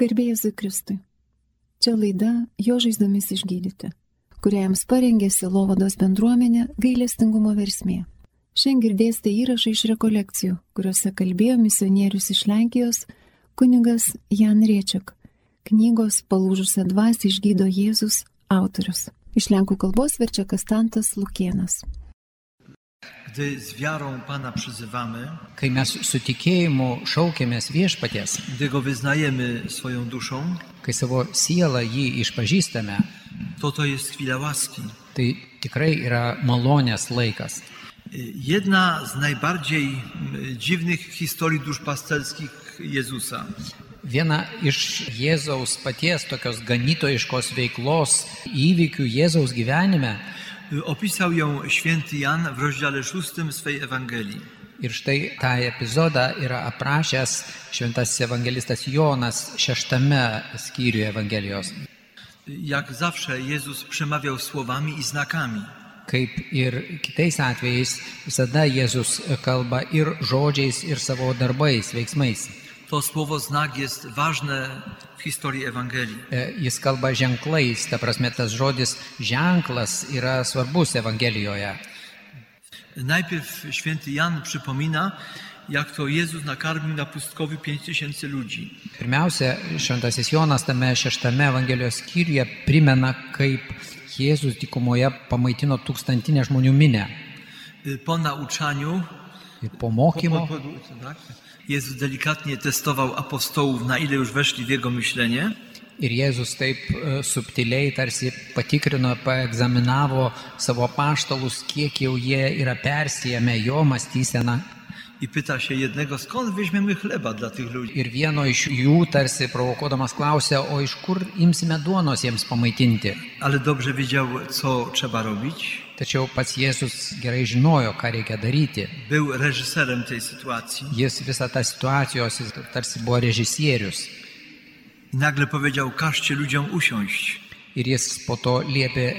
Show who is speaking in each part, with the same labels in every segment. Speaker 1: Garbėjai Zikristui. Čia laida Jo žaizdomis išgydyti, kurią jums parengė Silovados bendruomenė gailestingumo versmė. Šiandien girdėsite įrašą iš rekolekcijų, kuriuose kalbėjo misionierius iš Lenkijos kunigas Jan Riečiak, knygos Palūžusią dvasį išgydo Jėzus autorius. Iš lenkų kalbos verčia Kastantas Lukienas.
Speaker 2: Gdy z wiarą Pana przyzywamy,
Speaker 3: Kai mes su tikėjimu šaukėmės viešpaties,
Speaker 2: gdy Go wyznajemy swoją duszą,
Speaker 3: kai savo sielą jį išpažįstame,
Speaker 2: to to jest chwila łaski.
Speaker 3: tai tikrai yra malonės laikas.
Speaker 2: Jedna z najbardziej mm, dziwnych historii duszpasterskich Jezusa
Speaker 3: Viena iš Jėzaus paties tokios ganytojiškos veiklos įvykių Jėzaus gyvenime
Speaker 2: opisał ją święty Jan w rozdziale 6 swej Ewangelii.
Speaker 3: ir štai tą epizodą yra aprašęs šventasis evangelistas Jonas šeštame skyriuje Evangelijos.
Speaker 2: Jak zawsze Jezus przemawiał słowami i znakami.
Speaker 3: Kaip ir kitais atvejais, visada Jėzus kalba ir žodžiais, ir savo darbais, veiksmais.
Speaker 2: To słowo znak jest ważne w historii Ewangelii.
Speaker 3: E, Jis kalba ženklais, ta prasme tas žodis ženklas yra svarbus Evangelijoje.
Speaker 2: Najpierw święty Jan przypomina, jak to Jezus nakarmił na pustkowiu 5000 ludzi.
Speaker 3: Pirmiausia, Šventasis Jonas tame šeštame Evangelijos skyriuje primena, kaip Jėzus dykumoje pamaitino tūkstantinę žmonių minę.
Speaker 2: Y, Po nauczaniu
Speaker 3: Ir po mokymo
Speaker 2: po- po- tak, Jezus delikatnie testował apostołów, na ile już weszli w jego myślenie.
Speaker 3: ir Jėzus taip e, subtiliai tarsi patikrino, paegzaminavo savo paštalus, kiek jau jie yra persijame jo mąstyseną.
Speaker 2: I pyta się jednego, skąd weźmiemy chleba dla tych ludzi?
Speaker 3: Ir vieno iš jų tarsi provokuodamas klausė, o iš kur imsime duonos jiems pamaitinti.
Speaker 2: Ale dobrze wiedział, co trzeba robić.
Speaker 3: Tačiau pats Jėzus gerai žinojo, ką reikia daryti.
Speaker 2: Był reżyserem tej sytuacji.
Speaker 3: Jis visą tą situacijos jis tarsi buvo režisierius.
Speaker 2: I nagle powiedział, każcie ludziom usiąść.
Speaker 3: Ir jis po to liepė,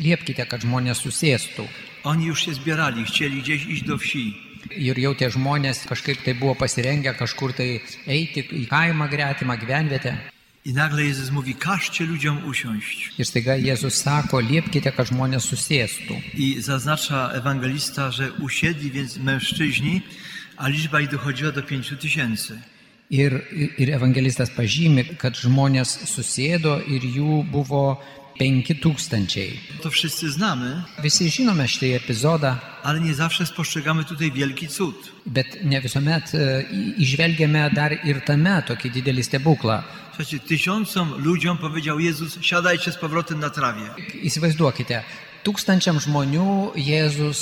Speaker 3: liepkite, kad žmonės susėstų.
Speaker 2: Oni już się zbierali, chcieli gdzieś iść do wsi.
Speaker 3: Ir jau tie žmonės kažkaip tai buvo pasirengę kažkur tai eiti į kaimą gretimą gyvenvietę.
Speaker 2: I nagle Jezus mówi, każcie ludziom usiąść.
Speaker 3: Ir staiga Jėzus sako, liepkite, kad žmonės susėstų.
Speaker 2: I zaznacza ewangelista, że usiedli więc mężczyźni, a liczba ich dochodziła do pięciu tysięcy.
Speaker 3: Ir, ir evangelistas pažymi, kad žmonės susėdo ir jų buvo penki tūkstančiai.
Speaker 2: To wszyscy znamy,
Speaker 3: Visi žinome šitą epizodą,
Speaker 2: ale nie zawsze spostrzegamy tutaj wielki cud.
Speaker 3: bet ne visuomet išvelgiame dar ir tame tokį didelį stebuklą.
Speaker 2: Słuchajcie, tysiącom ludziom powiedział Jezus, siadajcie z powrotem na trawie.
Speaker 3: Įsivaizduokite, tūkstančiam žmonių Jėzus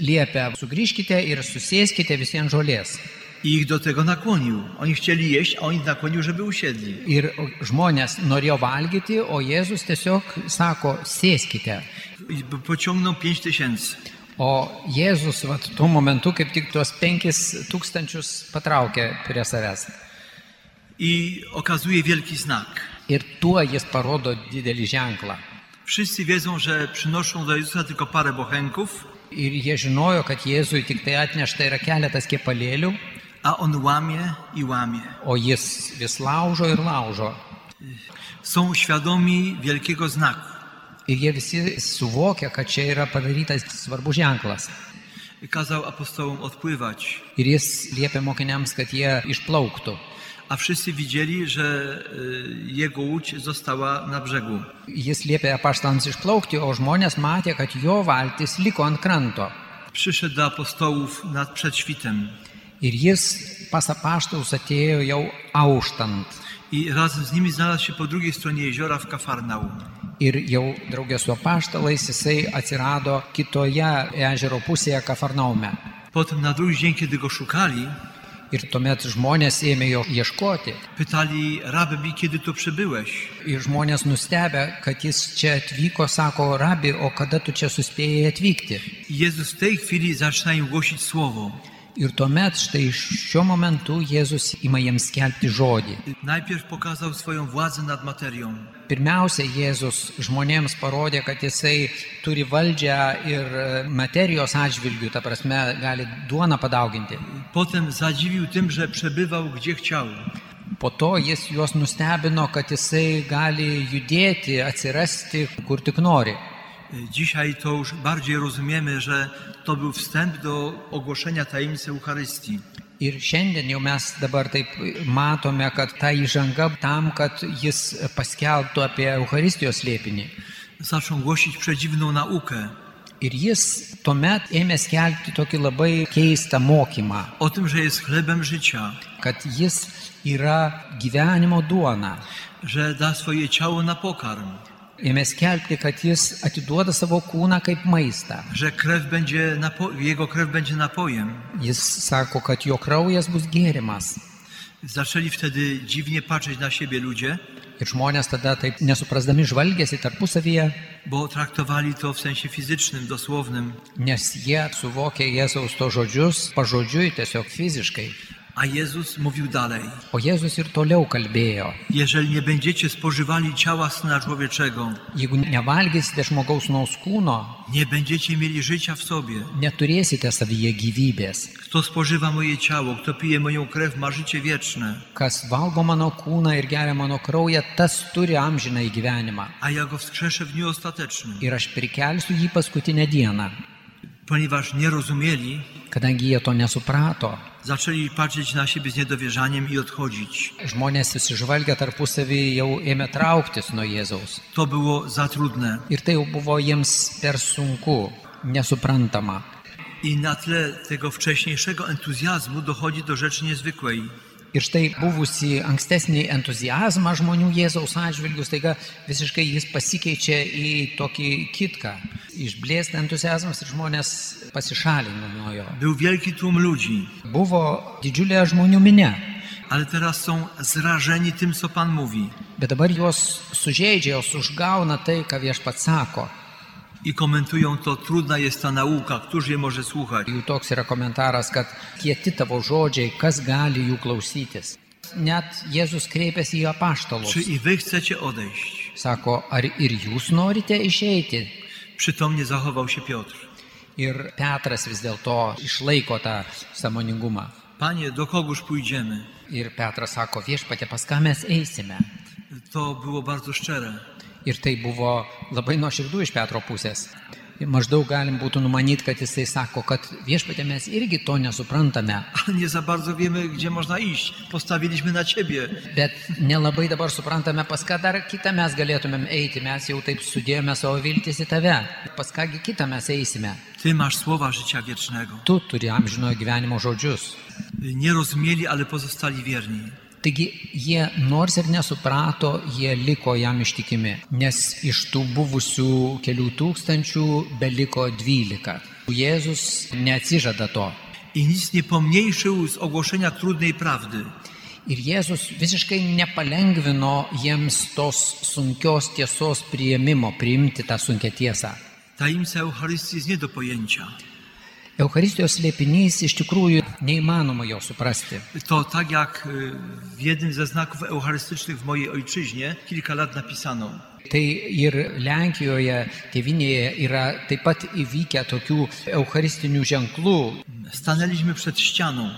Speaker 3: liepia, sugrįžkite ir susėskite visiems žolės.
Speaker 2: I ich do tego nakłonił. Oni chcieli jeść, a on ich nakłonił, żeby usiedli.
Speaker 3: Ir žmonės norėjo valgyti, o Jėzus tiesiog sako, sėskite.
Speaker 2: I p- pociągnął pięć tysięcy.
Speaker 3: O Jėzus vat, tuo momentu kaip tik tuos penkis tūkstančius patraukė prie savęs.
Speaker 2: I okazuje wielki znak.
Speaker 3: Ir tuo jis parodo didelį ženklą.
Speaker 2: Wszyscy wiedzą, że przynoszą do Jezusa tylko parę bochenków,
Speaker 3: Ir jie žinojo, kad Jėzui tik tai atnešta yra keletas kiepalėlių,
Speaker 2: a on łamie i łamie.
Speaker 3: o jis vis laužo ir laužo.
Speaker 2: Są świadomi wielkiego znaku.
Speaker 3: Ir jie visi suvokia, kad čia yra padarytas svarbus ženklas.
Speaker 2: Kazał apostołom odpływać,
Speaker 3: Ir jis liepia mokiniams, kad jie išplauktų.
Speaker 2: a wszyscy widzieli, że y, jego łódź została na brzegu.
Speaker 3: Jis liepia apaštams išplaukti, o žmonės matė, kad jo valtis liko ant kranto.
Speaker 2: Przyszedł do apostołów nad przedświtem
Speaker 3: Ir jis pas apaštalus atėjo jau auštant.
Speaker 2: i razem z nimi znalazł się po drugiej stronie jeziora w Kafarnaum.
Speaker 3: Ir jau draugės su apaštalais jisai atsirado kitoje ežero pusėje Kafarnaume.
Speaker 2: Potem na drugi dzień, kiedy go szukali,
Speaker 3: Ir tuomet žmonės ėmė jo ieškoti.
Speaker 2: pytali rabbi, kiedy tu przybyłeś?
Speaker 3: Ir žmonės nustebę, kad jis čia atvyko, sako, rabi, o kada tu čia suspėjai atvykti?
Speaker 2: I Jezus w tej chwili zaczyna im głosić słowo.
Speaker 3: Ir tuomet štai šiuo momentu Jėzus ima jiems skelbti žodį.
Speaker 2: Najpierw pokazał swoją władzę nad materią.
Speaker 3: Pirmiausia, Jėzus žmonėms parodė, kad jisai turi valdžią ir e, materijos atžvilgių, ta prasme, gali duoną padauginti.
Speaker 2: Potem zadziwił tym, że przebywał gdzie chciał.
Speaker 3: Po to jis juos nustebino, kad jisai gali judėti, atsirasti, kur tik nori.
Speaker 2: Dzisiaj to już bardziej rozumiemy, że to był wstęp do ogłoszenia tajemnicy Eucharystii.
Speaker 3: Ir šiandien jau mes dabar taip matome, kad ta įžanga tam, kad jis paskelbtų apie Euharistijos lėpinį.
Speaker 2: Zaczął głosić przedziwną naukę
Speaker 3: Ir jis tuomet ėmė skelbti tokį labai keistą mokymą,
Speaker 2: o tym, że jest chlebem życia,
Speaker 3: kad jis yra gyvenimo duona.
Speaker 2: że da swoje ciało na pokarm,
Speaker 3: Ėmė skelbti, kad jis atiduoda savo kūną kaip maistą.
Speaker 2: że krew będzie napo- jego krew będzie napojem.
Speaker 3: Jis sako, kad jo kraujas bus gėrimas.
Speaker 2: Zaczęli wtedy dziwnie patrzeć na siebie ludzie,
Speaker 3: Ir žmonės tada taip nesuprasdami žvalgėsi tarpusavyje,
Speaker 2: bo traktowali to w sensie fizycznym, dosłownym,
Speaker 3: nes jie suvokė Jėzaus to žodžius pažodžiui tiesiog fiziškai.
Speaker 2: a Jezus mówił dalej.
Speaker 3: O Jėzus ir toliau kalbėjo,
Speaker 2: Jeżeli nie będziecie spożywali ciała Syna Człowieczego,
Speaker 3: jeigu nevalgysite žmogaus naus kūno,
Speaker 2: nie będziecie mieli życia w sobie.
Speaker 3: neturėsite savyje gyvybės.
Speaker 2: Kto spożywa moje ciało, kto pije moją krew, ma życie wieczne,
Speaker 3: Kas valgo mano kūną ir geria mano kraują, tas turi amžiną į gyvenimą.
Speaker 2: a ja go wskrzeszę w dniu ostatecznym.
Speaker 3: Ir aš prikelsiu jį paskutinę dieną.
Speaker 2: Ponieważ nie rozumieli,
Speaker 3: Kadangi jie to nesuprato,
Speaker 2: zaczęli patrzeć na siebie z niedowierzaniem i odchodzić.
Speaker 3: žmonės įsižvalgę tarpusavį jau ėmė trauktis nuo Jėzaus.
Speaker 2: To było za trudne.
Speaker 3: Ir tai jau buvo jiems per sunku, nesuprantama.
Speaker 2: I na tle tego wcześniejszego entuzjazmu dochodzi do rzeczy niezwykłej.
Speaker 3: Ir štai buvusi ankstesnį entuzijazmą žmonių Jėzaus atžvilgius, taiga visiškai jis pasikeičia į tokį kitką. Išblėsta entuzijazmas ir žmonės pasišalina nuo jo.
Speaker 2: Był wielki tłum ludzi,
Speaker 3: Buvo didžiulė žmonių minia,
Speaker 2: ale teraz są zrażeni tym, co Pan mówi.
Speaker 3: bet dabar juos sužeidžia, jos užgauna tai, ką viešpats sako.
Speaker 2: I komentują to, trudna jest ta nauka, któż jej może słuchać.
Speaker 3: Jų toks yra komentaras, kad kieti tavo žodžiai, kas gali jų klausytis. Net Jėzus kreipiasi į apaštalus.
Speaker 2: Czy i wy chcecie odejść?
Speaker 3: Sako, ar ir jūs norite išeiti?
Speaker 2: Przytomnie zachował się Piotr.
Speaker 3: Ir Petras vis dėlto išlaiko tą samoningumą.
Speaker 2: Panie, do kogóż pójdziemy?
Speaker 3: Ir Petras sako, viešpatė, pas ką mes eisime.
Speaker 2: To było bardzo szczere.
Speaker 3: Ir tai buvo labai nuoširdų iš Petro pusės. Ir Maždaug galim būtų numanyti, kad jisai sako, kad viešpatė mes irgi to nesuprantame,
Speaker 2: Ale nie za bardzo wiemy, gdzie można iść. Postawiliśmy na ciebie.
Speaker 3: bet nelabai dabar suprantame, pas ką dar kitą mes galėtumėm eiti, mes jau taip sudėjome savo viltis į tave, pas kągi kitą mes eisime.
Speaker 2: Ty masz słowa życia wiecznego.
Speaker 3: Tu turi amžinojo gyvenimo žodžius.
Speaker 2: Nie rozumieli, ale pozostali wierni.
Speaker 3: Taigi jie nors ir nesuprato, jie liko jam ištikimi, nes iš tų buvusių kelių tūkstančių beliko dvylika. Jėzus neatsižada to.
Speaker 2: I nic nie pomniejszył z ogłoszenia trudnej prawdy.
Speaker 3: Ir Jėzus visiškai nepalengvino jiems tos sunkios tiesos prieimimo, priimti tą sunkę tiesą.
Speaker 2: Tajemnica Eucharystii jest nie do pojęcia.
Speaker 3: Eucharistijos slėpinys iš tikrųjų neįmanoma jo suprasti.
Speaker 2: To tak jak y, w jednym ze znaków eucharystycznych w mojej ojczyźnie kilka lat napisano.
Speaker 3: Tai ir Lenkijoje, tėvinėje yra taip pat įvykę tokių eucharistinių ženklų,
Speaker 2: Stanęliśmy przed ścianą.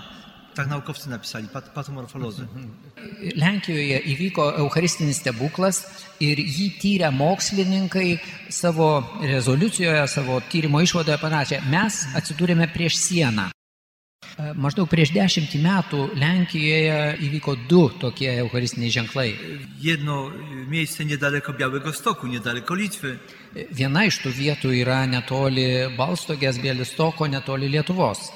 Speaker 2: Tak naukowcy napisali, pat- patomorfolozy.
Speaker 3: Lenkijoje įvyko Eucharistinis stebuklas ir jį tyrę mokslininkai savo rezoliucijoje, savo tyrimo išvadoje parašė, mes atsidūrėme prieš sieną. E, Maždaug prieš dešimtį metų Lenkijoje įvyko du tokie Eucharistiniai ženklai.
Speaker 2: Jedno y, miejsce niedaleko Białego Stoku, niedaleko Litwy.
Speaker 3: E, Viena iš tų vietų yra netoli Balstogės, Bielistoko, netoli Lietuvos,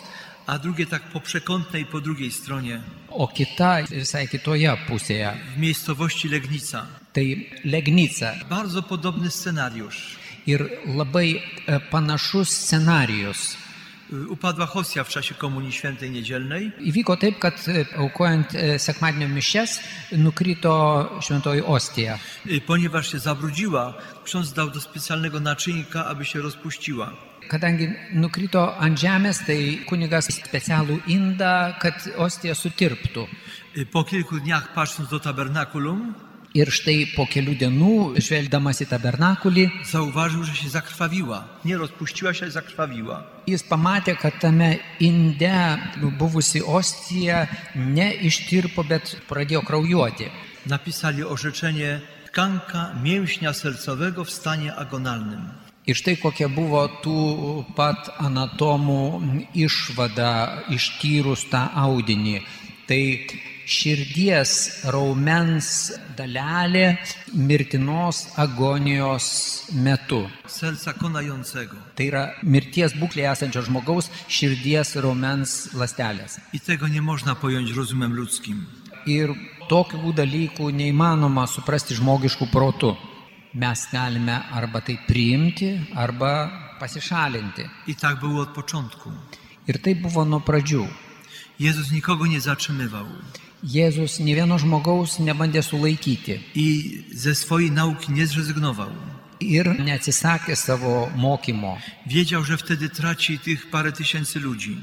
Speaker 2: a drugie tak po przekątnej po drugiej stronie,
Speaker 3: o kita visai kitoje pusėje.
Speaker 2: w miejscowości Legnica.
Speaker 3: Tai Legnica,
Speaker 2: Bardzo podobny scenariusz.
Speaker 3: Ir labai e, panašus scenarijus.
Speaker 2: Y, Upadła Hosja w czasie Komunii Świętej Niedzielnej.
Speaker 3: Įvyko taip, kad e, aukojant e, sekmadienio mišes nukrito šventoji Ostija.
Speaker 2: Y, Ponieważ się zabrudziła, ksiądz dał do specjalnego naczynka, aby się rozpuściła.
Speaker 3: Kadangi nukrito ant žemės, tai kunigas specialų indą, kad Ostija sutirptų.
Speaker 2: Y, Po kilku dniach, patrząc do tabernakulum,
Speaker 3: Ir štai po kelių dienų, žvelgdamas į tabernakulį,
Speaker 2: zauważył, że się zakrwawiła. Nie rozpuściła się, ale zakrwawiła.
Speaker 3: jis pamatė, kad tame inde buvusi ostija neištirpo, bet pradėjo kraujuoti.
Speaker 2: Napisali orzeczenie tkanka mięśnia sercowego w stanie agonalnym.
Speaker 3: Ir štai kokia buvo tų pat anatomų išvada ištyrus tą audinį. Tai širdies raumens dalelė mirtinos agonijos metu.
Speaker 2: Serca konającego.
Speaker 3: Tai yra mirties būklėje esančio žmogaus širdies raumens lastelės.
Speaker 2: I tego nie można pojąć rozumem ludzkim.
Speaker 3: Ir tokių dalykų neįmanoma suprasti žmogiškų protų. Mes galime arba tai priimti, arba pasišalinti.
Speaker 2: I tak było od początku.
Speaker 3: Ir tai buvo nuo pradžių.
Speaker 2: Jezus nikogo nie zatrzymywał.
Speaker 3: Jėzus ne vieno žmogaus nebandė sulaikyti
Speaker 2: I ze swojej nauki nie zrezygnował.
Speaker 3: ir neatsisakė savo mokymo.
Speaker 2: Wiedział, że wtedy traci tych parę tysięcy ludzi.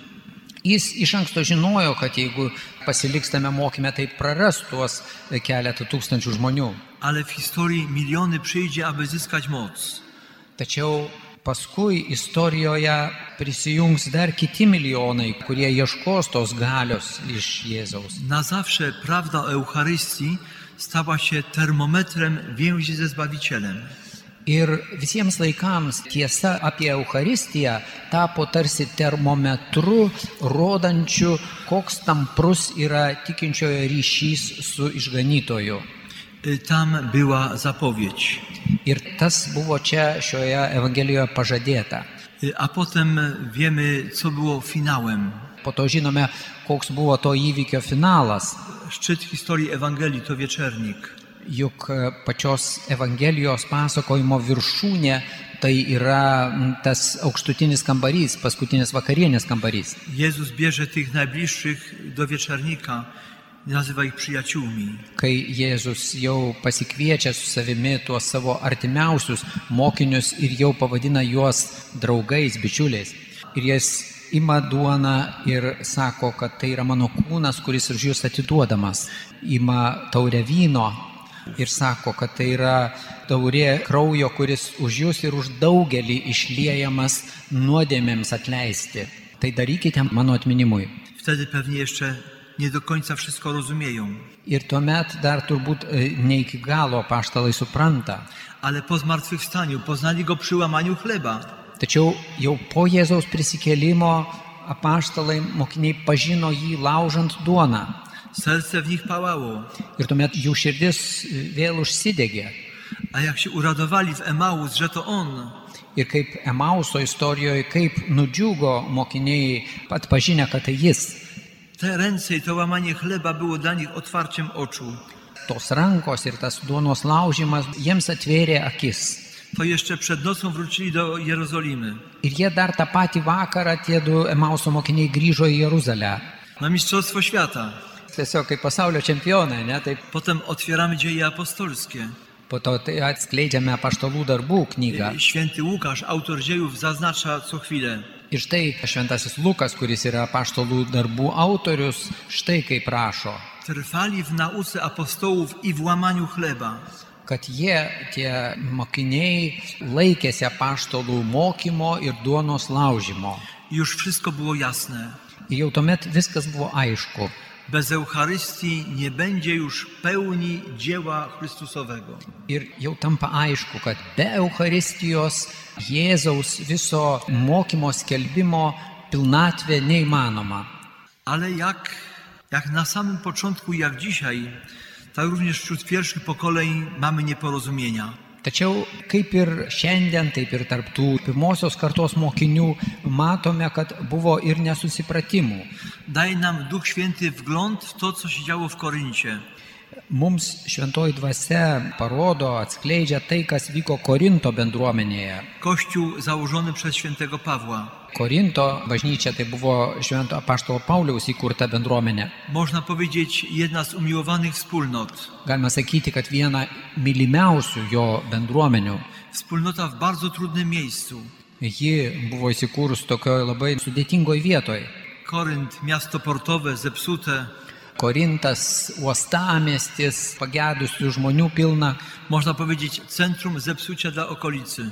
Speaker 3: Jis iš anksto žinojo, kad jeigu pasilikstame mokyme, tai praras tuos keletą tūkstančių žmonių.
Speaker 2: Ale w historii miliony przyjdzie, aby zyskać moc.
Speaker 3: Tačiau paskui istorijoje prisijungs dar kiti milijonai, kurie ieškos tos galios iš Jėzaus.
Speaker 2: Na zawsze prawda o Eucharystii stała się termometrem więzi ze Zbawicielem.
Speaker 3: Ir visiems laikams tiesa apie Eucharistiją tapo tarsi termometru, rodančiu, koks tamprus yra tikinčiojo ryšys su išganytoju.
Speaker 2: Y, Tam była zapowiedź.
Speaker 3: Ir tas buvo čia šioje Evangelijoje pažadėta.
Speaker 2: Y, A potem wiemy, co było finałem.
Speaker 3: Po to žinome, koks buvo to įvykio finalas.
Speaker 2: Szczyt historii Ewangelii to wieczernik.
Speaker 3: Juk e, pačios Evangelijos pasakojimo viršūnė tai yra mm, tas aukštutinis kambarys, paskutinis vakarienės kambarys.
Speaker 2: Jezus bierze tych najbliższych do wieczernika, nazywa ich przyjaciółmi.
Speaker 3: Kai Jėzus jau pasikviečia su savimi tuos savo artimiausius mokinius ir jau pavadina juos draugais, bičiuliais. Ir jis ima duoną ir sako, kad tai yra mano kūnas, kuris už jūs atiduodamas. Ima taurę vyno ir sako, kad tai yra taurė kraujo, kuris už jūs ir už daugelį išliejamas nuodėmėms atleisti. Tai darykite mano atminimui.
Speaker 2: Wtedy pewnie jeszcze nie do końca wszystko rozumieją,
Speaker 3: Ir tuomet dar turbūt e, ne iki galo paštalai supranta.
Speaker 2: ale po zmartwychwstaniu poznali go przy łamaniu chleba.
Speaker 3: Tačiau jau po Jėzaus prisikėlimo apaštalai mokiniai pažino jį laužant duoną.
Speaker 2: Serce w nich pałało,
Speaker 3: Ir tuomet jų širdis e, vėl užsidegė.
Speaker 2: a jak się uradowali w Emaus, że to on,
Speaker 3: Ir kaip Emauso istorijoje, kaip nudžiugo mokiniai pat pažinę, kad tai jis.
Speaker 2: te ręce i to łamanie chleba było dla nich otwarciem oczu.
Speaker 3: Tos rankos ir tas duonos laužimas jiems atvėrė akis.
Speaker 2: To jeszcze przed nocą wrócili do Jerozolimy.
Speaker 3: Ir jie dar tą patį vakarą tie du Emauso mokiniai grįžo į Jeruzalę.
Speaker 2: Na Mistrzostwo Świata.
Speaker 3: Tiesiog kaip pasaulio čempionai, ne? Taip
Speaker 2: Potem otwieramy dzieje apostolskie.
Speaker 3: Po to tai atskleidžiame paštalų darbų knygą.
Speaker 2: Y, Święty Łukasz, autor dziejów, zaznacza co chwilę.
Speaker 3: Ir štai šventasis Lukas, kuris yra paštalų darbų autorius, štai kaip rašo,
Speaker 2: Trwali w nauce apostołów i w łamaniu chleba.
Speaker 3: kad jie, tie mokiniai, laikėsi paštalų mokymo ir duonos laužimo.
Speaker 2: Już wszystko było jasne.
Speaker 3: Ir jau tuomet viskas buvo aišku.
Speaker 2: Bez Eucharystii nie będzie już pełni dzieła Chrystusowego.
Speaker 3: Ir jau tampa aišku, kad be Eucharistijos Jėzaus viso mokymo skelbimo pilnatvė neįmanoma.
Speaker 2: Ale jak, jak na samym początku, jak dzisiaj, tak również wśród pierwszych pokoleń mamy nieporozumienia.
Speaker 3: Tačiau kaip ir šiandien, taip ir tarptų pirmosios kartos mokinių matome, kad buvo ir nesusipratimų.
Speaker 2: Daje nam Duch Święty wgląd w to, co się działo w Koryncie.
Speaker 3: Mums šventoji dvasia parodo, atskleidžia tai, kas vyko Korinto bendruomenėje.
Speaker 2: Kościół założony przez świętego Pawła.
Speaker 3: Korinto bažnyčia tai buvo švento apaštalo Pauliaus įkurta bendruomenė.
Speaker 2: Można powiedzieć, jedna z umiłowanych wspólnot.
Speaker 3: Galima sakyti, kad viena mylimiausių jo bendruomenių.
Speaker 2: Wspólnota w bardzo trudnym miejscu.
Speaker 3: Ji buvo įsikūrus tokioje labai sudėtingoje vietoje.
Speaker 2: Korynt, miasto portowe, zepsute,
Speaker 3: Korintas, uostamestis, pagedusių žmonių pilna.
Speaker 2: Można powiedzieć centrum zepsucia dla okolicy.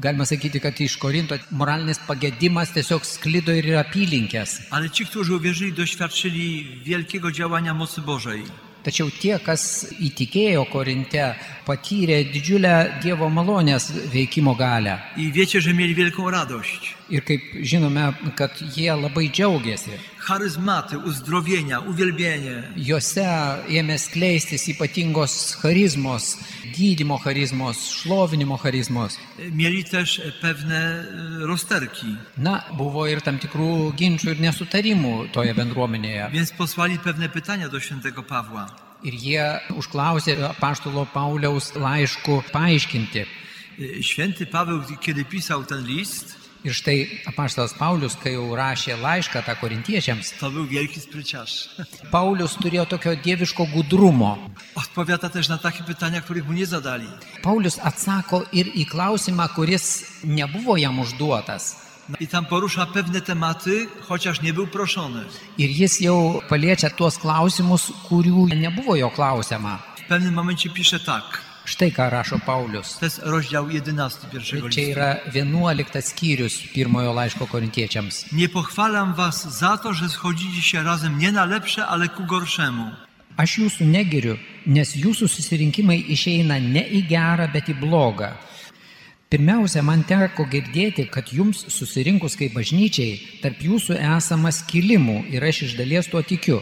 Speaker 3: Galima sakyti, kad iš Korinto moralinis pagėdimas tiesiog sklido ir į apylinkės.
Speaker 2: Ale ci, którzy uwierzyli, doświadczyli wielkiego działania mocy Bożej.
Speaker 3: Tačiau tie, kas įtikėjo Korinte, patyrė didžiulę Dievo malonės veikimo galę.
Speaker 2: I wiecie, że mieli wielką radość.
Speaker 3: Ir kaip žinome, kad jie labai džiaugiasi.
Speaker 2: Charyzmaty, uzdrowienia, uwielbienie.
Speaker 3: Jose ėmė skleistis ypatingos charizmos, gydymo charizmos, šlovinimo charizmos.
Speaker 2: Mieli też pewne e, rozterki,
Speaker 3: Na, buvo ir tam tikrų ginčių ir nesutarimų toje bendruomenėje.
Speaker 2: więc posłali pewne pytania do świętego Pawła.
Speaker 3: Ir jie užklausė apaštalo Pauliaus laiškų paaiškinti.
Speaker 2: E, Święty Paweł, kiedy pisał ten list,
Speaker 3: Ir štai apaštalas Paulius, kai jau rašė laišką tą korintiečiams,
Speaker 2: to był wielki spryciarz.
Speaker 3: Paulius turėjo tokio dieviško gudrumo.
Speaker 2: Odpowiada też na takie pytania, których mu nie zadali.
Speaker 3: Paulius atsako ir į klausimą, kuris nebuvo jam užduotas.
Speaker 2: No I tam porusza pewne tematy, chociaż nie był proszony.
Speaker 3: Ir jis jau paliečia tuos klausimus, kurių nebuvo jo klausiama.
Speaker 2: W pewnym momencie pisze tak.
Speaker 3: Štai ką rašo Paulius.
Speaker 2: To jest rozdział 11 pierwszego
Speaker 3: Čia
Speaker 2: listu.
Speaker 3: yra 11 skyrius pirmojo laiško korintiečiams.
Speaker 2: Nie pochwalam was za to, że schodzili się razem nie na lepsze, ale ku gorszemu.
Speaker 3: Aš jūsų negiriu, nes jūsų susirinkimai išeina ne į gerą, bet į blogą. Pirmiausia, man teko girdėti, kad jums susirinkus kaip bažnyčiai, tarp jūsų esama skilimų ir aš iš dalies tuo tikiu.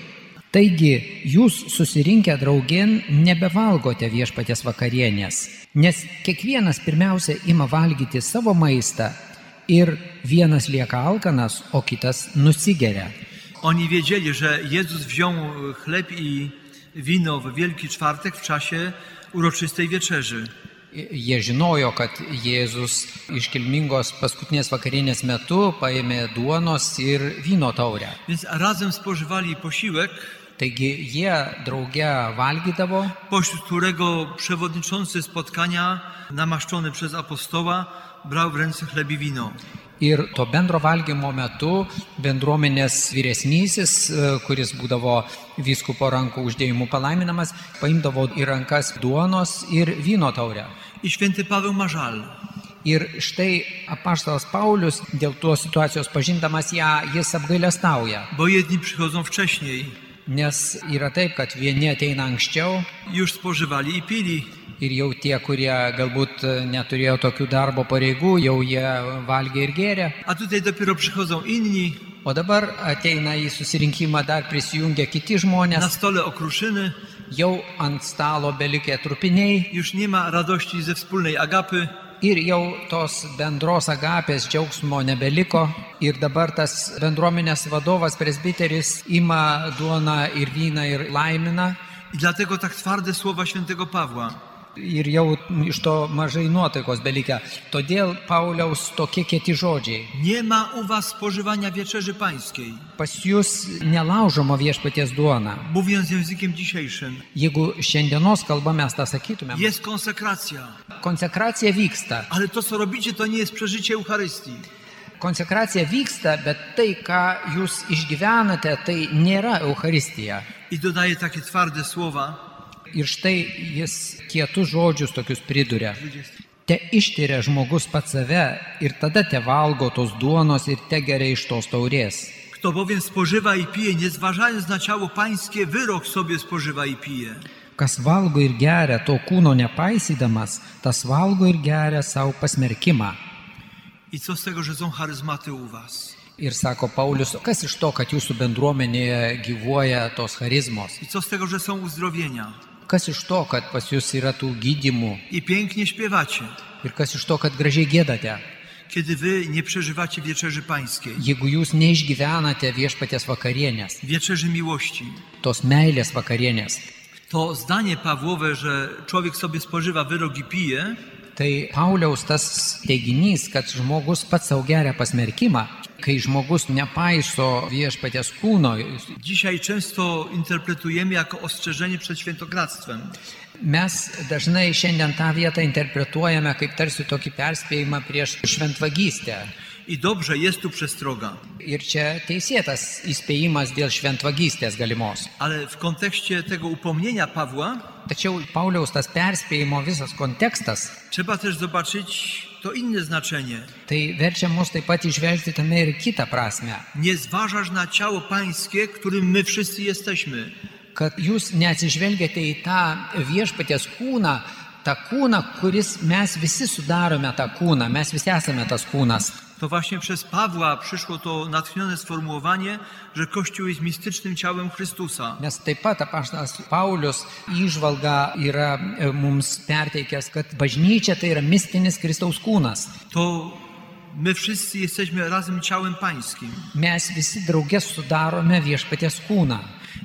Speaker 3: Taigi, jūs susirinkę draugien nebevalgote viešpatės vakarienės, nes kiekvienas pirmiausia ima valgyti savo maistą ir vienas lieka alkanas, o kitas nusigeria.
Speaker 2: Oni wiedzieli, że Jezus wziął e, chleb i wino w Wielki Czwartek w czasie uroczystej wieczerzy.
Speaker 3: Jie žinojo, kad Jėzus iškilmingos paskutinės vakarienės metu paėmė duonos ir vyno taurę.
Speaker 2: Więc razem spożywali posiłek,
Speaker 3: Taigi jie drauge valgydavo
Speaker 2: pośród którego przewodniczący spotkania, namaszczony przez apostoła, brał w ręce chleb i wino.
Speaker 3: ir to bendro valgymo metu bendruomenės vyresnysis, e, kuris būdavo vyskupo rankų uždėjimų palaiminamas, paimdavo į rankas duonos ir vyno taurę.
Speaker 2: I święty Paweł ma żal.
Speaker 3: Ir štai apaštalas Paulius dėl tos situacijos pažindamas ją, jis apgailę stauja.
Speaker 2: Bo jedni przychodzą wcześniej,
Speaker 3: Nes yra taip, kad vieni ateina anksčiau
Speaker 2: już spożywali i pili,
Speaker 3: ir jau tie, kurie galbūt e, neturėjo tokių darbo pareigų, jau jie valgė ir gėrė.
Speaker 2: a tutaj dopiero przychodzą inni,
Speaker 3: O dabar ateina į susirinkimą dar prisijungia kiti
Speaker 2: na
Speaker 3: žmonės,
Speaker 2: stole okruszyny,
Speaker 3: jau ant stalo belikę trupiniai
Speaker 2: już nie ma radości ze wspólnej agapy,
Speaker 3: ir jau tos bendros agapės džiaugsmo nebeliko. Ir dabar tas bendruomenės vadovas presbiteris ima duoną ir vyną ir laimina.
Speaker 2: i dlatego tak twarde słowa świętego Pawła.
Speaker 3: Ir jau iš to mažai nuotaikos belikę. Todėl Pauliaus tokie kieti žodžiai.
Speaker 2: Nie ma u was spożywania wieczerzy pańskiej.
Speaker 3: Pas jūs nelaužoma viešpaties duona.
Speaker 2: Mówiąc językiem dzisiejszym,
Speaker 3: Jeigu šiandienos kalba mes tą sakytumėm,
Speaker 2: jest konsekracja,
Speaker 3: konsekracija vyksta.
Speaker 2: ale to co robicie to nie jest przeżycie Eucharystii.
Speaker 3: Konsekracija vyksta, bet tai, ką jūs išgyvenate, tai nėra Euharistija.
Speaker 2: I dodaje takie twarde słowa.
Speaker 3: Ir štai jis kietus žodžius tokius priduria. Te ištiria žmogus pats save ir tada te valgo tos duonos ir te geria iš tos taurės.
Speaker 2: Kto bowiem spożywa i pije, nie zważając na ciało pańskie, wyrok sobie spożywa i pije.
Speaker 3: Kas valgo ir geria to kūno nepaisydamas, tas valgo ir geria savo pasmerkimą.
Speaker 2: I co z tego, że są charyzmaty u was?
Speaker 3: Ir sako Paulius, kas iš to, kad jūsų bendruomenėje gyvuoja tos charizmos?
Speaker 2: I co z tego, że są uzdrowienia?
Speaker 3: Kas iš to, kad pas jūs yra tų gydimų?
Speaker 2: I pięknie śpiewacie,
Speaker 3: Ir kas iš to, kad gražiai gėdate?
Speaker 2: kiedy wy nie przeżywacie wieczerzy pańskiej,
Speaker 3: Jeigu jūs neišgyvenate viešpatės vakarienės,
Speaker 2: wieczerzy miłości.
Speaker 3: tos meilės vakarienės,
Speaker 2: To zdanie Pawłowe, że człowiek sobie spożywa wyrok i pije,
Speaker 3: tai Pauliaus tas teiginys, kad žmogus pats savo geria pasmerkimą, kai žmogus nepaiso viešpatės kūno,
Speaker 2: dzisiaj często interpretujemy jako ostrzeżenie przed świętokradztwem.
Speaker 3: mes dažnai šiandien tą vietą interpretuojame kaip tarsi tokį perspėjimą prieš šventvagystę.
Speaker 2: I dobrze jest tu przestroga,
Speaker 3: Ir čia teisėtas įspėjimas dėl šventvagystės galimos.
Speaker 2: ale w kontekście tego upomnienia Pawła
Speaker 3: Tačiau Pauliaus tas perspėjimo visas kontekstas,
Speaker 2: trzeba też zobaczyć to inne znaczenie.
Speaker 3: tai verčia mus taip pat išvelgti tame ir kitą prasme,
Speaker 2: Nie zważasz na ciało pańskie, którym my wszyscy jesteśmy.
Speaker 3: kad jūs neatsižvelgiate į tą viešpatės kūną, tą kūną, kuris mes visi sudarome tą kūną, mes visi esame tas kūnas.
Speaker 2: To właśnie przez Pawła przyszło to natchnione sformułowanie, że Kościół jest mistycznym ciałem Chrystusa.
Speaker 3: Nes taip pat apaštas Paulius įžvalga yra e, mums perteikęs, kad bažnyčia tai yra mistinis Kristaus kūnas.
Speaker 2: To my wszyscy jesteśmy razem ciałem pańskim.
Speaker 3: Mes visi draugės sudarome viešpaties kūną.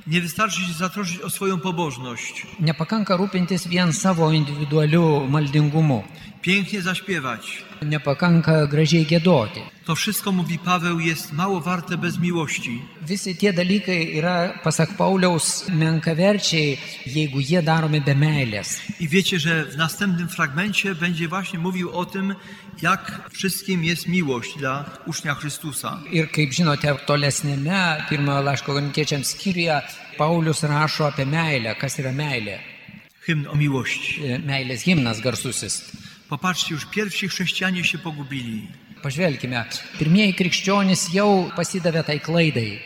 Speaker 2: Nie wystarczy się zatroszczyć o swoją pobożność,
Speaker 3: Nepakanka rūpintis vien savo individualiu maldingumu,
Speaker 2: pięknie zaśpiewać.
Speaker 3: nepakanka gražiai gėdoti.
Speaker 2: To wszystko, mówi Paweł, jest mało warte bez miłości.
Speaker 3: Visi tie dalykai yra, pasak Pauliaus, menkaverčiai, jeigu jie daromi be meilės.
Speaker 2: I wiecie, że w następnym fragmencie będzie właśnie mówił o tym, jak wszystkim jest miłość dla ucznia Chrystusa.
Speaker 3: Ir kaip žinote, tolesnėme pirmojo laiško gamitiečiams skyriuje Paulius rašo apie meilę, kas yra meilė.
Speaker 2: Hymn o miłości.
Speaker 3: E, Meilės himnas garsusis.
Speaker 2: Popatrzcie, już pierwsi chrześcijanie się pogubili.
Speaker 3: Pažvelkime, pirmieji krikščionys jau pasidavė tai klaidai.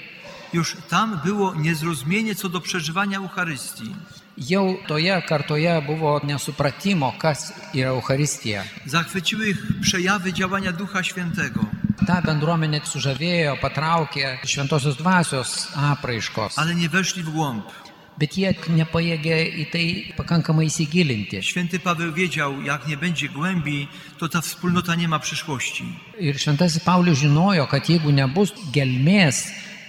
Speaker 2: Już tam było niezrozumienie co do przeżywania Eucharystii.
Speaker 3: Jau toje kartoje buvo nesupratimo, kas yra Euharistija.
Speaker 2: Zachwyciły ich przejawy działania Ducha Świętego,
Speaker 3: Ta bendruomenė sužavėjo, patraukė šventosios dvasios apraiškos.
Speaker 2: ale nie weszli w głąb.
Speaker 3: bet jie nepajėgė į tai pakankamai įsigilinti.
Speaker 2: Święty Paweł wiedział, jak nie będzie głębi, to ta wspólnota nie ma przyszłości.
Speaker 3: Ir Šventasis Paulius žinojo, kad jeigu nebus gelmės,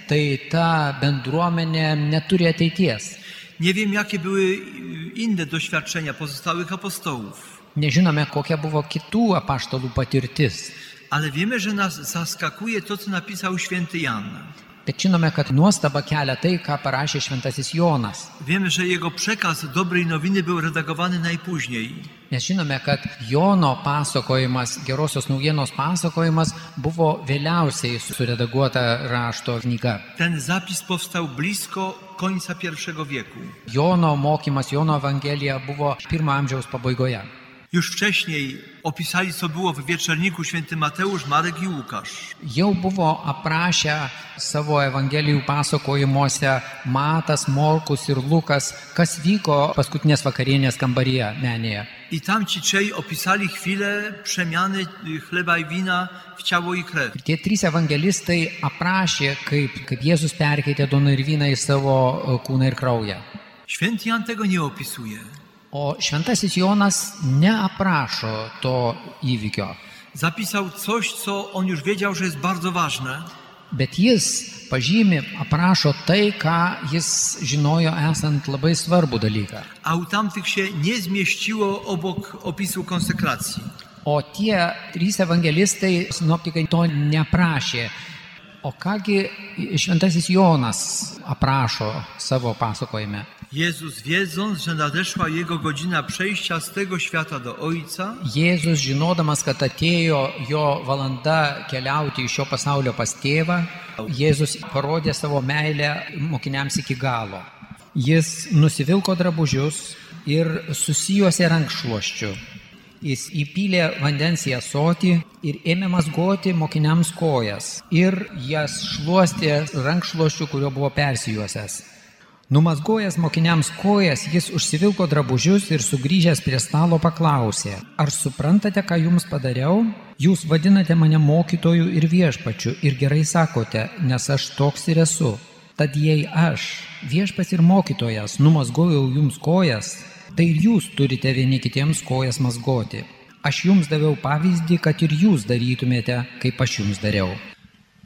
Speaker 3: tai ta bendruomenė neturi ateities.
Speaker 2: Nie wiem, jakie były y, inne doświadczenia pozostałych apostołów,
Speaker 3: Nežinome, kokia buvo kitų apaštalų patirtis,
Speaker 2: ale wiemy, że nas zaskakuje to, co napisał święty Jan.
Speaker 3: bet žinome, kad nuostaba kelia tai, ką parašė Šventasis Jonas.
Speaker 2: Wiemy, że jego przekaz dobrej nowiny był redagowany najpóźniej.
Speaker 3: Mes žinome, kad Jono pasakojimas, gerosios naujienos pasakojimas buvo vėliausiai suredaguota rašto knyga.
Speaker 2: Ten zapis powstał blisko końca I wieku.
Speaker 3: Jono mokymas, Jono evangelija buvo pirmo amžiaus pabaigoje.
Speaker 2: Już wcześniej opisali, co było w wieczorniku święty Mateusz, Marek i Łukasz.
Speaker 3: Jau buvo aprašę savo Evangelijų pasakojimuose Matas, Morkus ir Lukas, kas vyko paskutinės vakarienės kambaryje menėje.
Speaker 2: I tam ci trzej opisali chwilę przemiany y, chleba i wina w ciało i krew.
Speaker 3: Ir tie trys evangelistai aprašė, kaip, kaip Jėzus perkeitė doną ir vyną į savo e, kūną ir kraują.
Speaker 2: Święty Jan tego nie opisuje.
Speaker 3: O šventasis Jonas neaprašo to įvykio,
Speaker 2: Zapisał coś, co on już wiedział, że jest bardzo ważne,
Speaker 3: bet jis pažymi, aprašo tai, ką jis žinojo esant labai svarbų dalyką.
Speaker 2: a u tamtych się nie zmieściło obok opisu konsekracji.
Speaker 3: O tie trys evangelistai, sinoptikai to neprašė. O kągi šventasis Jonas aprašo savo pasakojime?
Speaker 2: Jezus, wiedząc, że nadeszła jego godzina przejścia z tego świata do Ojca,
Speaker 3: Jėzus, žinodamas, kad atėjo jo valanda keliauti iš šio pasaulio pas tėvą, Jėzus parodė savo meilę mokiniams iki galo. Jis nusivilko drabužius ir susijuose rankšluoščiu. Jis įpylė vandens į asotį ir ėmė mazgoti mokiniams kojas ir jas šluostė rankšluoščiu, kuriuo buvo persijuosęs. Numazgojęs mokiniams kojas, jis užsivilko drabužius ir sugrįžęs prie stalo paklausė, ar suprantate, ką jums padariau? Jūs vadinate mane mokytoju ir viešpačiu ir gerai sakote, nes aš toks ir esu. Tad jei aš, viešpas ir mokytojas, numazgojau jums kojas, tai ir jūs turite vieni kitiems kojas mazgoti. Aš jums daviau pavyzdį, kad ir jūs darytumėte, kaip aš jums dariau.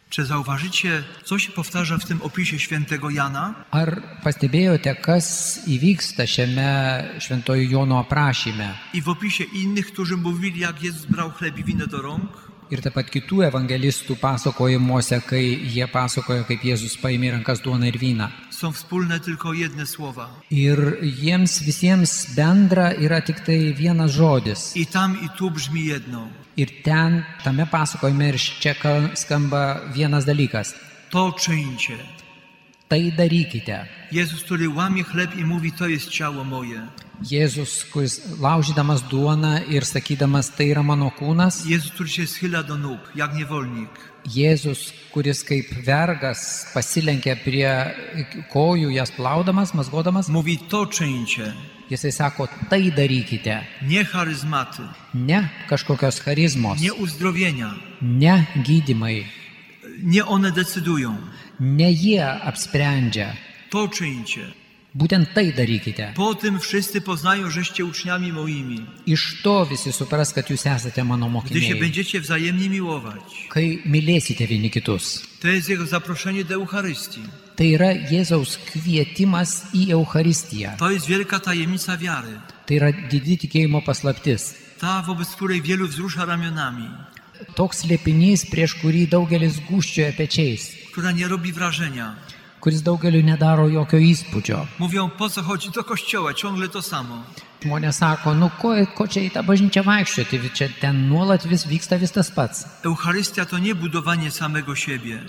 Speaker 2: Czy zauważycie, co się powtarza w tym opisie świętego Jana?
Speaker 3: Ar pastebėjote, kas įvyksta šiame Šventojo Jono aprašyme
Speaker 2: I w opisie innych, którzy mówili, jak Jezus brał chleb i wino do rąk?
Speaker 3: ir taip pat kitų evangelistų pasakojimuose, kai jie pasakoja, kaip Jėzus paėmė į rankas duoną ir vyną?
Speaker 2: są wspólne tylko jedne słowa.
Speaker 3: Ir jiems visiems bendra yra tik tai vienas žodis.
Speaker 2: I tam, i tu brzmi jedno.
Speaker 3: Ir ten, tame pasakojime ir čia ka- skamba vienas dalykas.
Speaker 2: To czyńcie.
Speaker 3: Tai darykite.
Speaker 2: Jezus, który łamie chleb i mówi, to jest ciało moje.
Speaker 3: Jėzus, kuris laužydamas duoną ir sakydamas, tai yra mano kūnas.
Speaker 2: Jezus, który się schyla do nóg, jak niewolnik.
Speaker 3: Jėzus, kuris kaip vergas pasilenkia prie kojų, jas plaudamas, mazgodamas,
Speaker 2: Mówi, to czyńcie.
Speaker 3: jisai sako, tai darykite.
Speaker 2: Nie charyzmaty,
Speaker 3: Ne kažkokios charizmos,
Speaker 2: nie uzdrowienia.
Speaker 3: ne gydimai,
Speaker 2: Nie one decydują.
Speaker 3: ne jie apsprendžia.
Speaker 2: To czyńcie.
Speaker 3: Būtent tai darykite.
Speaker 2: Po tym wszyscy poznają, żeście uczniami moimi,
Speaker 3: Iš to visi supras, kad jūs esate mano
Speaker 2: gdy się
Speaker 3: mokiniai.
Speaker 2: będziecie wzajemnie miłować.
Speaker 3: Kai mylėsite vieni kitus.
Speaker 2: To jest Jego zaproszenie do Eucharystii.
Speaker 3: Tai yra Jėzaus kvietimas į Eucharistiją.
Speaker 2: To jest wielka tajemnica wiary.
Speaker 3: Tai yra didi tikėjimo paslaptis.
Speaker 2: Ta, wobec której wielu wzrusza ramionami,
Speaker 3: Toks liepinys, prieš kurį daugelis guščioja pečiais,
Speaker 2: która nie robi wrażenia.
Speaker 3: kuris daugeliu nedaro jokio įspūdžio.
Speaker 2: Mówią, po co chodzi do kościoła, ciągle to samo.
Speaker 3: Žmonės sako, nu ko, ko čia į tą bažnyčią vaikščioti, Vi čia ten nuolat vis vyksta vis tas pats.
Speaker 2: Eucharystia to nie budowanie samego siebie.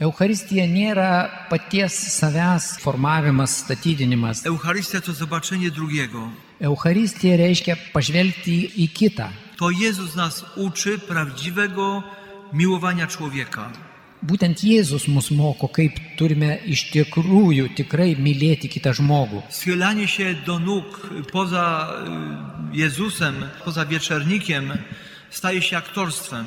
Speaker 3: Eucharistija nėra paties savęs formavimas, statydinimas.
Speaker 2: Eucharystia to zobaczenie drugiego.
Speaker 3: Eucharistija reiškia pažvelgti į kitą.
Speaker 2: To Jezus nas uczy prawdziwego miłowania człowieka.
Speaker 3: Būtent Jėzus mus moko, kaip turime iš tikrųjų tikrai mylėti kitą žmogų.
Speaker 2: Schylanie się do nóg poza y, Jezusem, poza wieczernikiem, staje się aktorstwem.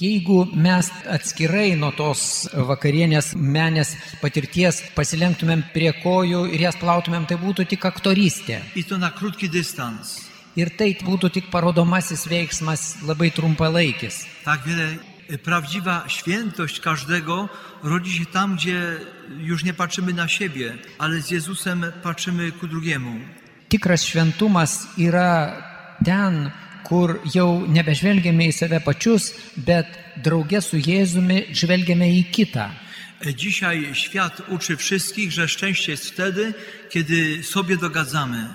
Speaker 3: Jeigu mes atskirai nuo tos vakarienės menės patirties pasilenktumėm prie kojų ir jas plautumėm, tai būtų tik aktorystė.
Speaker 2: I to na krótki dystans.
Speaker 3: Ir tai būtų tik parodomasis veiksmas, labai trumpalaikis.
Speaker 2: Tak wiele. y, Prawdziwa świętość każdego rodzi się tam, gdzie już nie patrzymy na siebie, ale z Jezusem patrzymy ku drugiemu.
Speaker 3: Tikras šventumas yra ten, kur jau nebežvelgiame į save pačius, bet drauge su Jėzumi žvelgiame į kitą.
Speaker 2: E, Dzisiaj świat uczy wszystkich, że szczęście jest wtedy, kiedy sobie dogadzamy.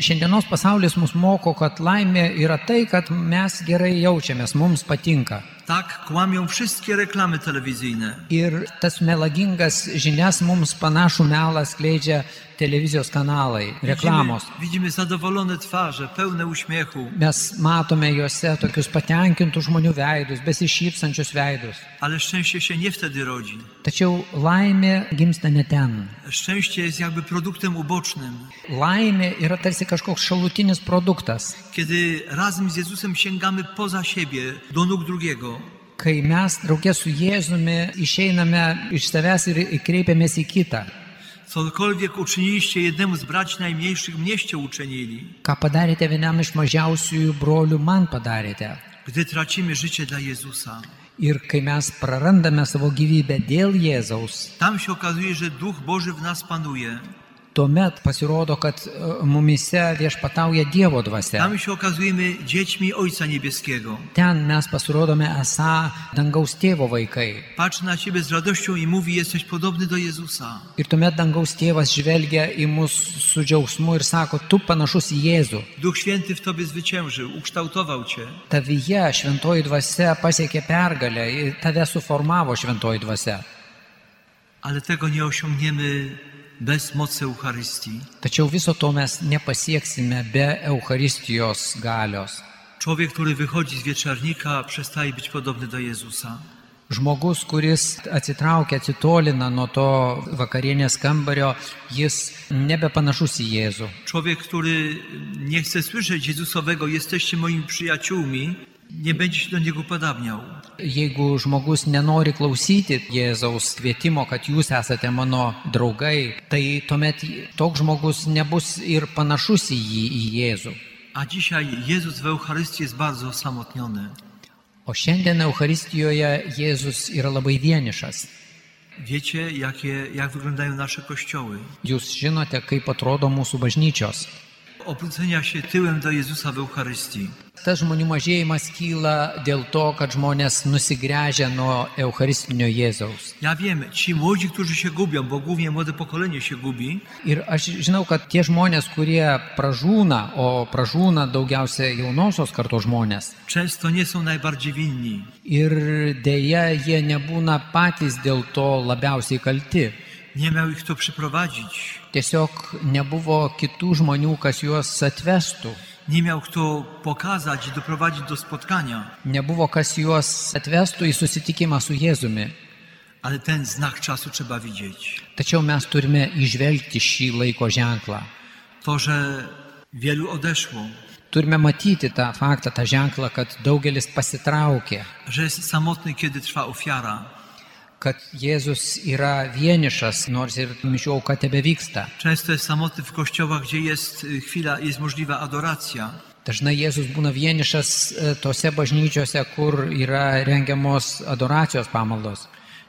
Speaker 3: Šiandienos pasaulis mus moko, kad laimė yra tai, kad mes gerai jaučiamės, mums patinka.
Speaker 2: Tak kłamią wszystkie reklamy telewizyjne.
Speaker 3: Ir tas melagingas žinias mums panašų melą skleidžia televizijos kanalai,
Speaker 2: Widzimy,
Speaker 3: reklamos.
Speaker 2: widzimy zadowolone twarze, pełne uśmiechu,
Speaker 3: Mes matome juose tokius patenkintų žmonių veidus, besišypsančius veidus.
Speaker 2: ale szczęście się nie wtedy rodzi.
Speaker 3: Tačiau laimė gimsta ne ten.
Speaker 2: Szczęście jest jakby produktem ubocznym.
Speaker 3: Laimė yra tarsi kažkoks šalutinis produktas.
Speaker 2: Kiedy razem z Jezusem sięgamy poza siebie, do nóg drugiego,
Speaker 3: Kai mes draugė su Jėzumi išeiname iš savęs ir kreipiamės į kitą.
Speaker 2: cokolwiek uczyniliście jednemu z braci najmniejszych, mnieście uczynili.
Speaker 3: Ką padarėte vienam iš mažiausiųjų brolių, man padarėte.
Speaker 2: Gdy tracimy życie dla Jezusa,
Speaker 3: Ir kai mes prarandame savo gyvybę dėl Jėzaus,
Speaker 2: tam się okazuje, że Duch Boży w nas panuje.
Speaker 3: tuomet pasirodo, kad e, mumise viešpatauja Dievo dvasia.
Speaker 2: Tam się okazujemy dziećmi Ojca Niebieskiego.
Speaker 3: Ten mes pasirodome esą dangaus tėvo vaikai.
Speaker 2: Patrzy na Ciebie z radością i mówi, jesteś podobny do Jezusa.
Speaker 3: Ir tuomet dangaus tėvas žvelgia į mus su džiaugsmu ir sako, tu panašus į Jėzų.
Speaker 2: Duch Święty w Tobie zwyciężył, ukształtował Cię.
Speaker 3: Tavyje šventoji dvasia pasiekė pergalę, ir tave suformavo šventoji dvasia.
Speaker 2: Ale tego nie osiągniemy bez mocy Eucharystii.
Speaker 3: Tačiau viso to mes nepasieksime be Eucharistijos galios.
Speaker 2: Człowiek, który wychodzi z wieczornika, przestaje być podobny do Jezusa.
Speaker 3: Žmogus, kuris atsitraukia, atsitolina nuo to vakarienės kambario, jis nebepanašus į Jėzų.
Speaker 2: Człowiek, który nie chce słyszeć Jezusowego, jesteście moimi przyjaciółmi, nie będzie się do Niego podobniał.
Speaker 3: Jeigu žmogus nenori klausyti Jėzaus kvietimo, kad jūs esate mano draugai, tai tuomet toks žmogus nebus ir panašus į jį, į Jėzų.
Speaker 2: A dzisiaj Jezus w Eucharystii jest bardzo osamotniony.
Speaker 3: O šiandien Eucharistijoje Jėzus yra labai vienišas.
Speaker 2: Wiecie, jakie, jak wyglądają nasze kościoły.
Speaker 3: Jūs žinote, kaip atrodo mūsų bažnyčios.
Speaker 2: obrócenia się tyłem do Jezusa w Eucharystii.
Speaker 3: Tas žmonių mažėjimas kyla dėl to, kad žmonės nusigręžia nuo Eucharistinio Jėzaus.
Speaker 2: Ja wiem, ci młodzi, którzy się gubią, bo głównie młode pokolenie się gubi,
Speaker 3: Ir aš žinau, kad tie žmonės, kurie pražūna, o pražūna daugiausia jaunosios kartos žmonės,
Speaker 2: często nie są najbardziej winni.
Speaker 3: ir dėja jie nebūna patys dėl to labiausiai kalti.
Speaker 2: Nie miał ich kto przyprowadzić,
Speaker 3: Tiesiog nebuvo kitų žmonių, kas juos atvestų,
Speaker 2: nie miał kto pokazać i doprowadzić do spotkania,
Speaker 3: nebuvo kas juos atvestų į susitikimą su Jėzumi.
Speaker 2: ale ten znak czasu trzeba widzieć.
Speaker 3: Tačiau mes turime išvelgti šį laiko ženklą.
Speaker 2: To, że wielu odeszło,
Speaker 3: Turime matyti tą faktą, tą ženklą, kad daugelis pasitraukė,
Speaker 2: że jest samotny, kiedy trwa ofiara.
Speaker 3: kad Jėzus yra vienišas, nors ir mišių auka tebe vyksta.
Speaker 2: Często jest samotny w kościołach, gdzie jest y, chwila, jest możliwa adoracja.
Speaker 3: Dažnai Jėzus būna vienišas e, tose bažnyčiose, kur yra rengiamos adoracijos pamaldos.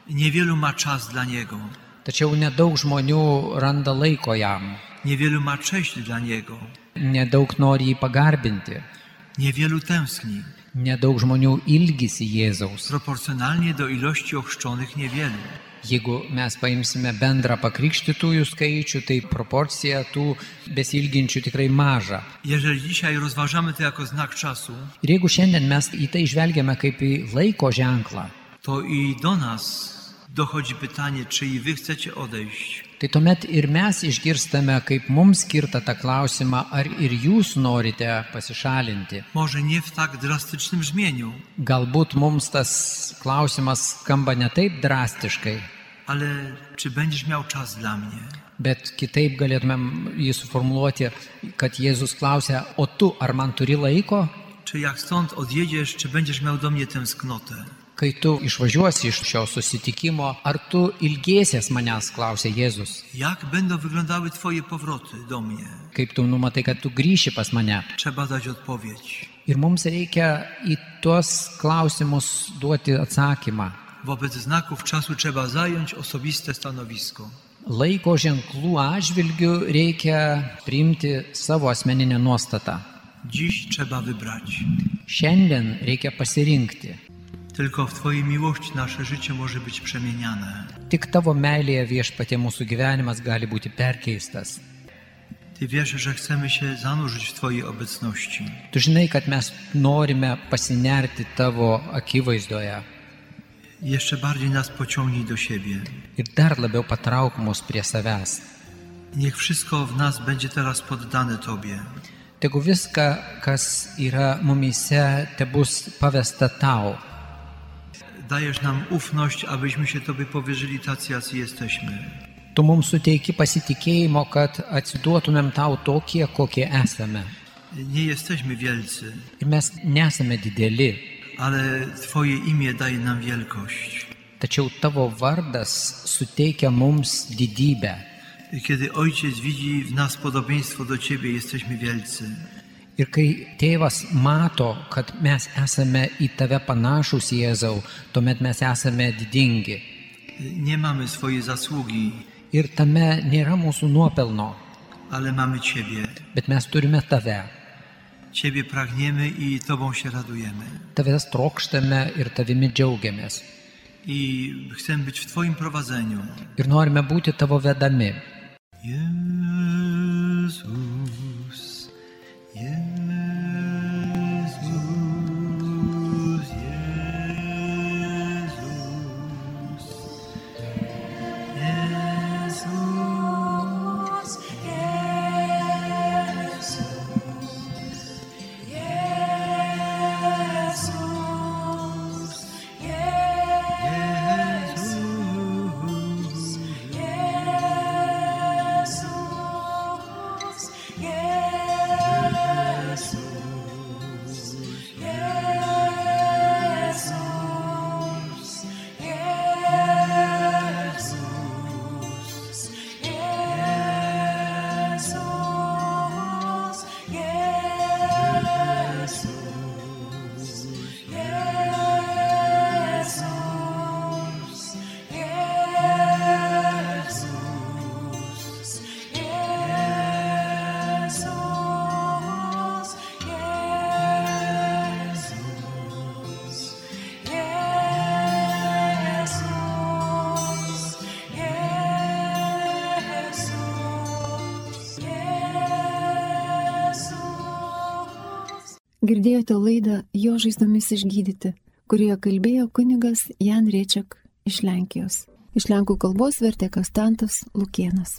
Speaker 2: Niewielu ma czas dla Niego,
Speaker 3: Tačiau nedaug žmonių randa laiko jam,
Speaker 2: niewielu ma cześć dla Niego,
Speaker 3: nedaug nori jį pagarbinti,
Speaker 2: niewielu tęskni.
Speaker 3: nedaug žmonių ilgisi Jėzaus.
Speaker 2: Proporcjonalnie do ilości ochrzczonych niewielu.
Speaker 3: Jeigu mes paimsime bendrą pakrikštytųjų skaičių, tai proporcija tų besilginčių tikrai maža.
Speaker 2: Jeżeli dzisiaj rozważamy to jako znak czasu,
Speaker 3: Ir jeigu šiandien mes į tai žvelgiame kaip į laiko ženklą,
Speaker 2: to i do nas dochodzi pytanie, czy i wy chcecie odejść.
Speaker 3: tai tuomet ir mes išgirstame, kaip mums skirta tą klausimą, ar ir jūs norite pasišalinti.
Speaker 2: Może nie w tak drastycznym brzmieniu,
Speaker 3: Galbūt mums tas klausimas skamba ne taip drastiškai,
Speaker 2: ale czy będziesz miał czas dla mnie?
Speaker 3: bet kitaip galėtumėm jį suformuoluoti, kad Jėzus klausia, o tu ar man turi laiko,
Speaker 2: Czy jak stąd odjedziesz, czy będziesz miał do mnie tęsknotę?
Speaker 3: kai tu išvažiuosi iš šio susitikimo, ar tu ilgėsies manęs, klausė Jėzus,
Speaker 2: Jak będą wyglądały Twoje powroty do mnie?
Speaker 3: kaip tu numatai, kad tu grįši pas mane.
Speaker 2: Trzeba dać odpowiedź.
Speaker 3: Ir mums reikia į tuos klausimus duoti atsakymą.
Speaker 2: Wobec znaków czasu trzeba zająć osobiste stanowisko.
Speaker 3: Laiko ženklų atžvilgių reikia priimti savo asmeninę nuostatą.
Speaker 2: Dziś trzeba wybrać.
Speaker 3: Šiandien reikia pasirinkti.
Speaker 2: Tylko w Twojej miłości nasze życie może być przemieniane.
Speaker 3: Tik tavo meilėje viešpatė mūsų gyvenimas gali būti perkeistas.
Speaker 2: Ty wiesz, że chcemy się zanurzyć w Twojej obecności.
Speaker 3: Tu žinai, kad mes norime pasinerti tavo akivaizdoje
Speaker 2: Jeszcze bardziej nas pociągnij do siebie.
Speaker 3: ir dar labiau patrauk mus prie savęs.
Speaker 2: Niech wszystko w nas będzie teraz poddane Tobie.
Speaker 3: Tegu viską, kas yra mumyse, te bus pavesta tau.
Speaker 2: Dajesz nam ufność, abyśmy się Tobie powierzyli tacy, jacy jesteśmy.
Speaker 3: Tu mums suteiki pasitikėjimo, kad atsiduotumėm tau tokie, kokie esame.
Speaker 2: Nie jesteśmy wielcy,
Speaker 3: Ir mes nesame dideli,
Speaker 2: ale Twoje imię daje nam wielkość.
Speaker 3: tačiau tavo vardas suteikia mums didybę.
Speaker 2: I Kiedy Ojciec widzi w nas podobieństwo do Ciebie, jesteśmy wielcy.
Speaker 3: Ir kai tėvas mato, kad mes esame į tave panašus Jėzau, tuomet mes esame didingi.
Speaker 2: Nie mamy swojej zasługi,
Speaker 3: Ir tame nėra mūsų nuopelno,
Speaker 2: ale mamy Ciebie.
Speaker 3: bet mes turime tave.
Speaker 2: Ciebie pragniemy i Tobą się radujemy.
Speaker 3: Tavęs trokštame ir tavimi džiaugiamės.
Speaker 2: I chcemy być w Twoim prowadzeniu.
Speaker 3: Ir norime būti tavo vedami.
Speaker 2: Jezus, Jezus, Jezus, Jezus.
Speaker 4: Jesus.
Speaker 1: Girdėjote laidą Jo žaizdomis išgydyti, kurioje kalbėjo kunigas Jan Riečiak iš Lenkijos. Iš Lenkų kalbos vertė Kastantas Lukienas.